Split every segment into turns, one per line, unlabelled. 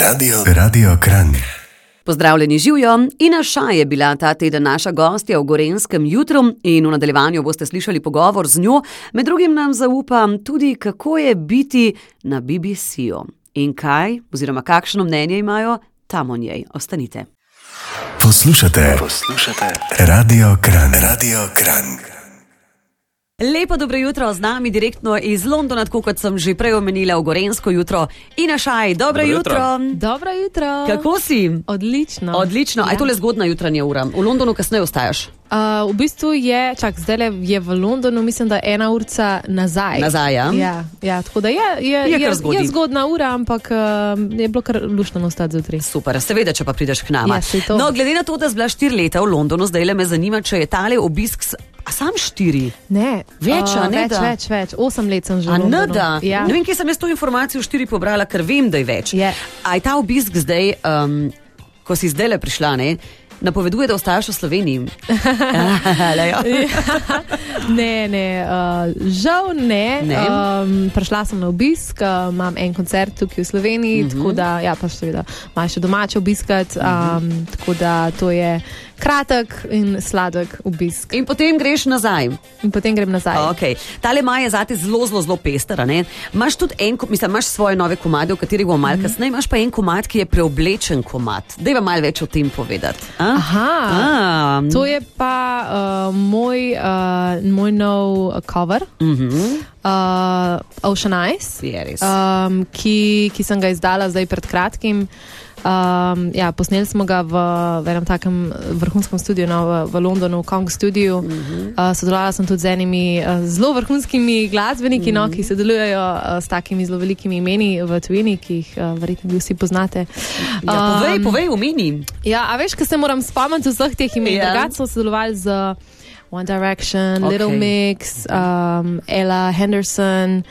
Radio, Radio Kran.
Pozdravljeni živijo. Ina Ša je bila ta teden naša gostja v Gorenskem jutru in v nadaljevanju boste slišali pogovor z njo. Med drugim nam zaupa tudi, kako je biti na BBC-ju in kaj oziroma kakšno mnenje imajo tam o njej. Ostanite.
Poslušate, poslušate Radio Kran, Radio Kran.
Lepo dobro jutro z nami direktno iz Londona, tako kot sem že prej omenila v Gorensko jutro. Ina Šaj, dobro, dobro
Dobro
jutro.
jutro.
jutro.
Dobro jutro.
Kako si?
No. Odlično.
Odlično, ja. aj tole zgodna jutranja ura. V Londonu kasneje ostajaš.
Uh, v bistvu je, čak, zdaj je v Londonu, mislim, da ena urica nazaj.
Nazaj, ja.
Ja, ja tako da je, je,
Je kar zgodaj.
je zgodna ura, ampak uh, je bilo kar lušno ostati zjutraj.
Super, seveda, če pa prideš k nam.
Ja, saj to.
no, glede na to, da si bila štiri leta v Londonu, zdaj le me zanima, če je tale obisk s- a sam štiri.
Ne,
Več, a ne
več,
da?
več, več. Osem let sem že. v
A ne
Londonu.
da.
Ja.
Ne vem, kje sem jaz to informacijo štiri pobrala, ker vem, da je več.
Je.
A je ta obisk zdaj, um, ko si zdaj le prišla, ne? Napoveduje, da ostaješ v Sloveniji. ja. Lejo.
Ja. Ne, ne, uh, žal ne.
Ne.
Um, prišla sem na obisk, uh, imam en koncert tukaj v Sloveniji, uh -huh. tako da ja, pač seveda imaš še domače obiskati. Um, uh -huh. Tako da to je kratek in sladek obisk.
In potem greš nazaj.
In potem grem nazaj.
Okay. Tale maj je zate zelo, zelo, zelo pester. a ne? Imaš tudi en, ko- mislim, imaš svoje nove komade, o katerih bomo
Mhm.
malo kasneje, imaš pa en komad, ki je preoblečen komad. Dej vam malo več o tem povedati. a?
Aha.
A, m,
To je pa uh, moj, uh, moj nov cover, uh -huh. uh, Ocean Eyes,
Je res.
um, ki, ki sem ga izdala zdaj pred kratkim. Um, ja, posneli smo ga v, v enem takem vrhunskem studiu no, v, v Londonu, v Kong studiu. Uh
Mhm.
-huh. uh, sodelovala sem tudi z enimi uh, zelo vrhunskimi glasbeniki, uh -huh. no,
Mhm.
ki sodelujejo uh, s takimi zelo velikimi imeni v tujini, ki jih uh, verjetno vi vsi poznate.
ja, povej,
Um,
povej, omeni.
Ja, a veš, ko se moram spomniti vseh teh imen.
Ja.
Yeah. Drugače so sodelovali z One Direction,
Okej.
okay. Little Mix, um, Ella Henderson,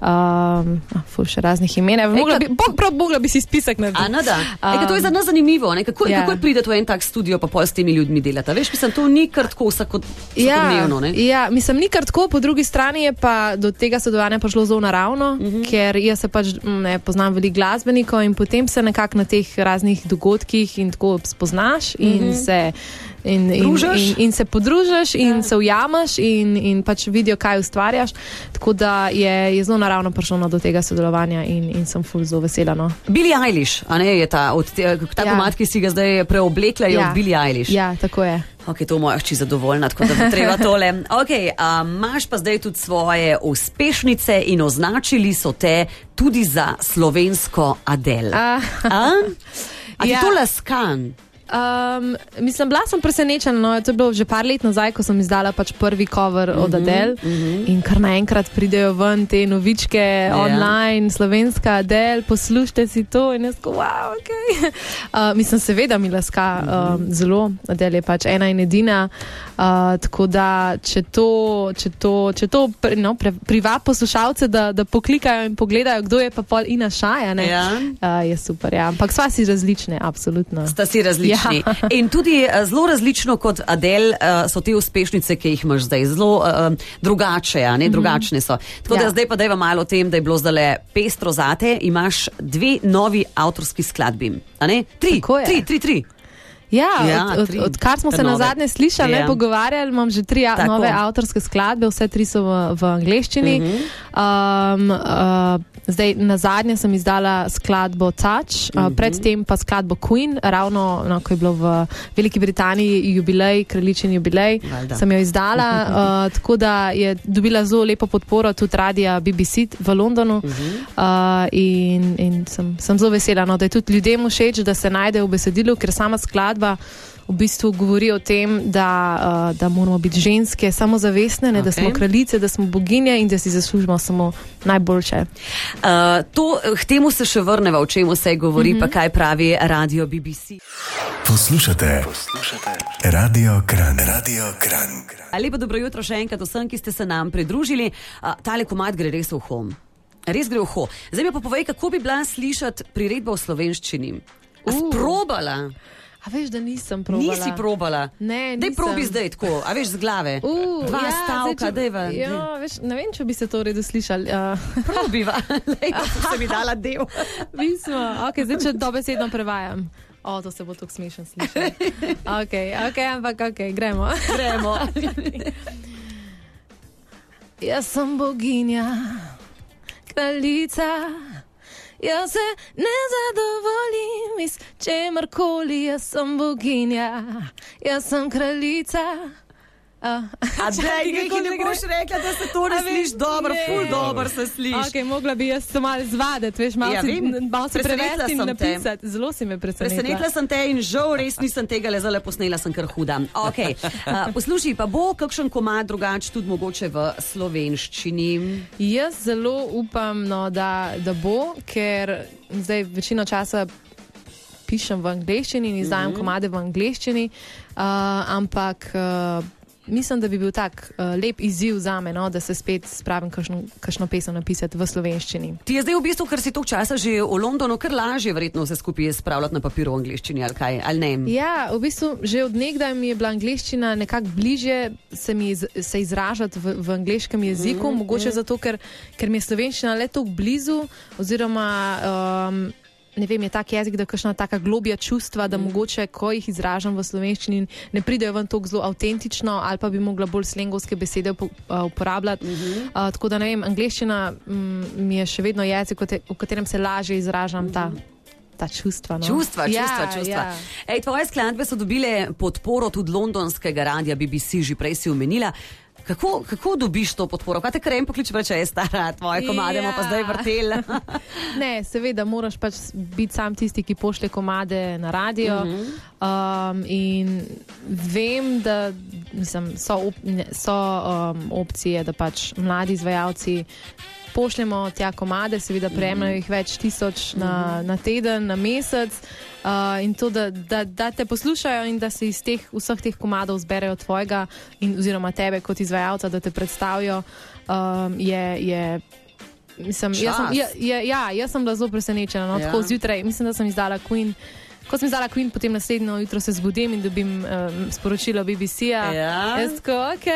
um, ah, ful še raznih imen. Evo, Mogla
kaj-
bi, bog, prav, mogla bi si spisek
A,
narediti.
no, da. Um, e, to je za nas zanimivo. Ne? Kako,
ja.
yeah. kako pride v en tak studio, pa pol s temi ljudmi delata? Veš, mislim, to ni kar tako vsako, vsakodnevno. ne?
ja, mislim, ni kar tako, po drugi strani je pa do tega sodelovanja prišlo zelo naravno,
Mhm.
mm -hmm. ker jaz se pač mm, ne poznam veliko glasbenikov in potem se nekako na teh raznih dogodkih in tako spoznaš in
Mhm.
mm -hmm. se. In, in,
Družiš?
in, in se podružiš, in ja. se ujameš, in, in pač vidijo, kaj ustvarjaš. Tako da je, je zelo naravno prišlo no, do tega sodelovanja, in, in sem ful zelo vesela. No.
Billie Eilish, a ne je ta, od te, ta
Ja.
yeah. komad, ki si ga zdaj preoblekla, je yeah.
Ja.
od Billie Eilish.
Ja, tako je.
Ok, to moja hči zadovoljna, tako da bo treba tole. Ok, a imaš pa zdaj tudi svoje uspešnice in označili so te tudi za slovensko Adel.
A,
A? A ti
Ja.
to laskan?
Um, mislim, bila sem presenečena. No, to je bilo že par let nazaj, ko sem izdala pač prvi cover uh -huh, od Adele. Uh -huh. In kar naenkrat pridejo ven te novičke ja. online, slovenska Adele, poslušajte si to. In jaz, tako, wow, ok. Uh, mislim, seveda mi laska uh -huh. um, zelo. Adele je pač ena in edina. Uh, tako da, če to, če to, če to pri, no, pre, priva poslušalce, da, da poklikajo in pogledajo, kdo je pa pol Ina Šaja, ne,
Ja.
uh, je super. Ja. Ampak sva si različne, absolutno.
Sta si različni.
Ja.
Ja. In tudi eh, zelo različno kot Adel eh, so te uspešnice, ki jih imaš zdaj. Zelo eh, drugače, a ne drugačne so. Tako da
Mhm. Ja.
zdaj pa dajva malo o tem, da je bilo zdaj le pestro zate. Imaš dve novi avtorski skladbi. a ne? Tri,
Tako je.
tri, tri, tri.
Ja,
Ja,
ja od,
tri.
od, odkar smo
Te
se na
nove.
zadnje slišali,
Ja.
ja. pogovarjali, imam že tri a,
Tako.
nove avtorske skladbe, vse tri so v, v angleščini.
Mhm.
Uh -huh. um, uh, zdaj, na zadnje sem izdala skladbo Touch, uh -huh.
Mhm.
uh, predtem pa skladbo Queen, ravno no, ko je bilo v Veliki Britaniji jubilej, kraljičen jubilej,
Valjda.
sem jo izdala, uh, tako da je dobila zelo lepo podporo tudi radia BBC v Londonu. Uh
Mhm.
-huh. uh, in in sem, sem zelo vesela, no, da je tudi ljudem všeč, da se najde v besedilu, ker sama skladba v bistvu govori o tem, da, uh, da moramo biti ženske samozavestne, ne, okay. da
Okej.
smo kraljice, da smo boginje in da si zaslužimo samo najboljše.
Uh, to, eh, k temu se še vrneva, o čem vse govori,
Mhm.
mm -hmm. pa kaj pravi radio BBC.
Poslušate, poslušate Radio Kran, Radio Kran.
A Lepo dobro jutro še enkrat vsem, ki ste se nam pridružili. Uh, tale komad gre res v hom. Res gre v ho. Zdaj mi pa povej, kako bi bila slišati priredba v slovenščini. Uh. Sprobala.
A veš, da nisem probala.
Nisi probala.
Ne,
Dej
nisem.
probi zdaj tako, a veš z glave.
Uh,
Dva
ja,
stavka,
zdaj,
dej v.
če,
dej.
ja, veš, ne vem, če bi se to v redu slišali. Uh,
Probiva, lej, pa sem mi dala del.
mi smo, okay, zdaj, če dobesedno prevajam. O, to se bo tako smešno slišalo. Okay, ok, ampak ok, gremo.
Gremo.
Jaz sem boginja, kraljica. Jaz se ne zadovoljim s čemer koli, jaz sem boginja, jaz sem kraljica. Uh,
A dej, nekaj ne boš rekla, da se to ne
A veš,
sliši dobro,
ne.
ful dobro se sliši.
Okay, mogla bi jaz se malo zvaditi, veš, malo
Ja,
ja, si,
vem.
n- malo si
Presenetila
prevesti in
sem te.
napisati. Te. Zelo si me presenetila.
Presenetila sem te in žal res nisem tega le zale posnela, sem kar huda. Okay. Uh, poslušaj, pa bo kakšen komad drugač tudi mogoče v slovenščini.
Jaz zelo upam, no, da, da bo, ker zdaj večino časa pišem v angleščini in izdajam mm -hmm. komade v angleščini, uh, ampak. Uh, Mislim, da bi bil tak uh, lep izziv za me, no, da se spet spravim kakšno, kakšno pesem napisati v slovenščini.
Ti je zdaj v bistvu, ker si toliko časa že v Londonu, kar lažje verjetno vse skupaj spravljati na papiru v angliščini ali kaj, ali ne?
Ja, v bistvu že odnegdaj mi je bila angliščina nekako bliže, se mi iz, se izražati v, v angliškem jeziku, mm, mogoče mm. zato, ker, ker mi je slovenščina le tako blizu, oziroma um, ne vem, je tak jezik, da kakšna taka globja čustva, da mm. mogoče, ko jih izražam v slovenščini, ne pridejo ven tako zelo avtentično, ali pa bi mogla bolj slengovske besede upo- a, uporabljati. Mm -hmm. uh, tako da ne vem, angliščina mm, mi je še vedno jezik, v te- v katerem se lažje izražam mm. ta. Ta čustva, no.
Čustva, čustva,
ja,
čustva.
Ja.
Ej, tvoje skladbe so dobile podporo tudi londonskega radia BBC, že prej si omenila. Kako, kako dobiš to podporo? Kaj te krem pokliče, pa reče, je stara, tvoje komade bomo pa
Ja.
zdaj vrteli.
Ne, seveda moraš pač biti sam tisti, ki pošlje komade na radio. Uh -huh. um, in vem, da mislim, so, op, ne, so um, opcije, da pač mladi izvajalci. Pošljemo tja komade, seveda prejmejo jih več tisoč na, na teden, na mesec, uh, in to, da, da, da te poslušajo in da se iz teh, vseh teh komadov zberejo tvojega, in, oziroma tebe kot izvajalca, da te predstavijo, um, je, je Mislim, jaz, sem,
Čast.
ja, ja, ja, jaz sem bila zelo presenečena. No,
Ja.
ja. Tako zjutraj, mislim, da sem izdala Queen. Ko sem izdala Queen, potem naslednjo jutro se zbudim in dobim um, sporočilo BBC-ja.
Ja.
Jaz tako, ok.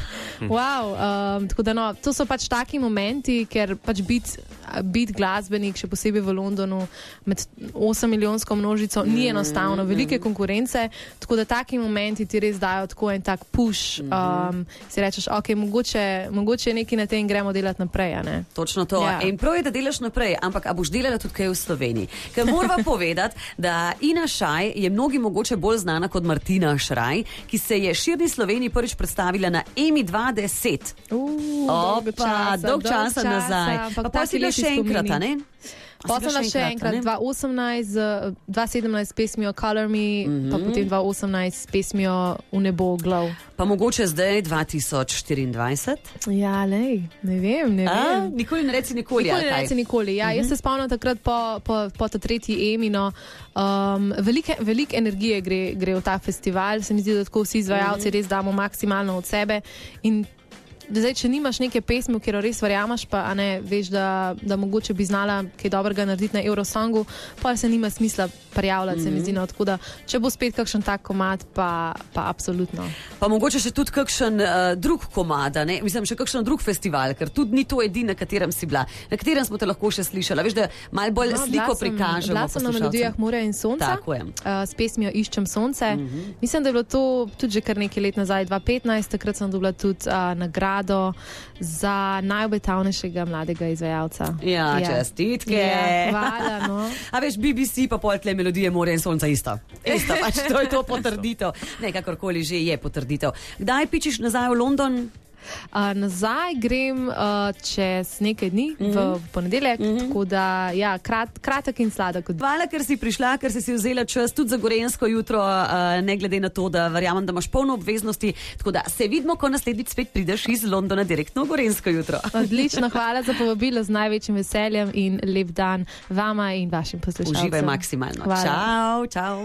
wow, um, tako da no, to so pač taki momenti, ker pač biti bit glasbenik, še posebej v Londonu, med 8-milijonsko množico, ni
Mhm.
enostavno, velike konkurence. Tako da taki momenti ti res dajo tako en tak push.
Mhm.
Um, si rečeš, ok, mogoče, mogoče je nekaj na tem in gremo delati naprej. a Ne?
Točno to. Ja.
Ja.
In prav je, da delaš naprej, ampak a boš delala tudi kaj v Sloveniji? Ker moramo povedati, da Ina Šaj je mnogi mogoče bolj znana kot Martina Šraj, ki se je širni Sloveniji prvič predstavila na EMI 2010.
Uh, dolgo
Opa, dolg
dolgo
časa nazaj.
ampak
Pa pol
taki
si bila
lepi
še enkrat, a
spomini.
ne? A si bila
Potem sem še enkrat,
a ne?
2018, z, eh, 2017 s pesmijo Color Me, mm -hmm.
Mhm.
pa potem 2018 s pesmijo V nebo glav.
Pa mogoče zdaj 2024.
Ja, lej, ne vem, ne
A?
vem.
Nikoli ne reci nikoli.
Nikoli
ali
ne
kaj? Mhm.
reci nikoli. Ja, jaz se spomnim takrat po, po, po ta tretji Emino. Um, Veliko velik energije gre, gre v ta festival, se mi zdi, da tako vsi izvajalci
Mhm.
res damo maksimalno od sebe. In Zdaj, če nimaš neke pesmi, v katero res verjameš, pa a ne veš, da, da mogoče bi znala kaj dobrega narediti na Eurosongu, pa se nima smisla prijavljati, mm -hmm.
Mhm.
se mi zdi. No, tako da, če bo spet kakšen tak komad, pa, pa absolutno.
Pa mogoče še tudi kakšen uh, drug komada, ne? mislim, še kakšen drug festival, ker tudi ni to edini, na katerem si bila. Na katerem smo te lahko še slišala, veš, da malo bolj no,
bila
sliko
sem-
prikažemo.
Bila sem na
poslušalcem.
melodijah Morja in Sonca.
Tako je. Mhm.
Uh, s pesmijo Iščem sonce. Mm -hmm. Mislim, da je bilo to tudi že kar nekaj let nazaj, 2015. Takrat sem dobila tudi uh, nagrado za najobetavnejšega mladega izvajalca.
Ja, ja, čestitke.
Ja, hvala. No.
A veš, BBC pa pol tle melodije more in sonca ista. Ista, pač to je to potrditev. Ne, kakorkoli že je potrditev. Kdaj pičiš nazaj v London?
Uh, nazaj grem uh, čez nekaj dni, mm
Mhm.
-hmm. v ponedeljek. Mm -hmm. Tako da, ja, krat, kratek in sladek.
Hvala, ker si prišla, ker si si vzela čas tudi za gorensko jutro, eh, ne glede na to, da verjamem, da imaš polno obveznosti. Tako da se vidimo, ko naslednjič spet prideš iz Londona direktno v gorensko jutro.
Odlično, hvala za povabilo z največjim veseljem in lep dan vama in vašim poslušalcem.
Uživaj maksimalno.
Hvala.
Čau, čau.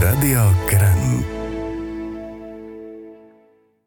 Radio Kran.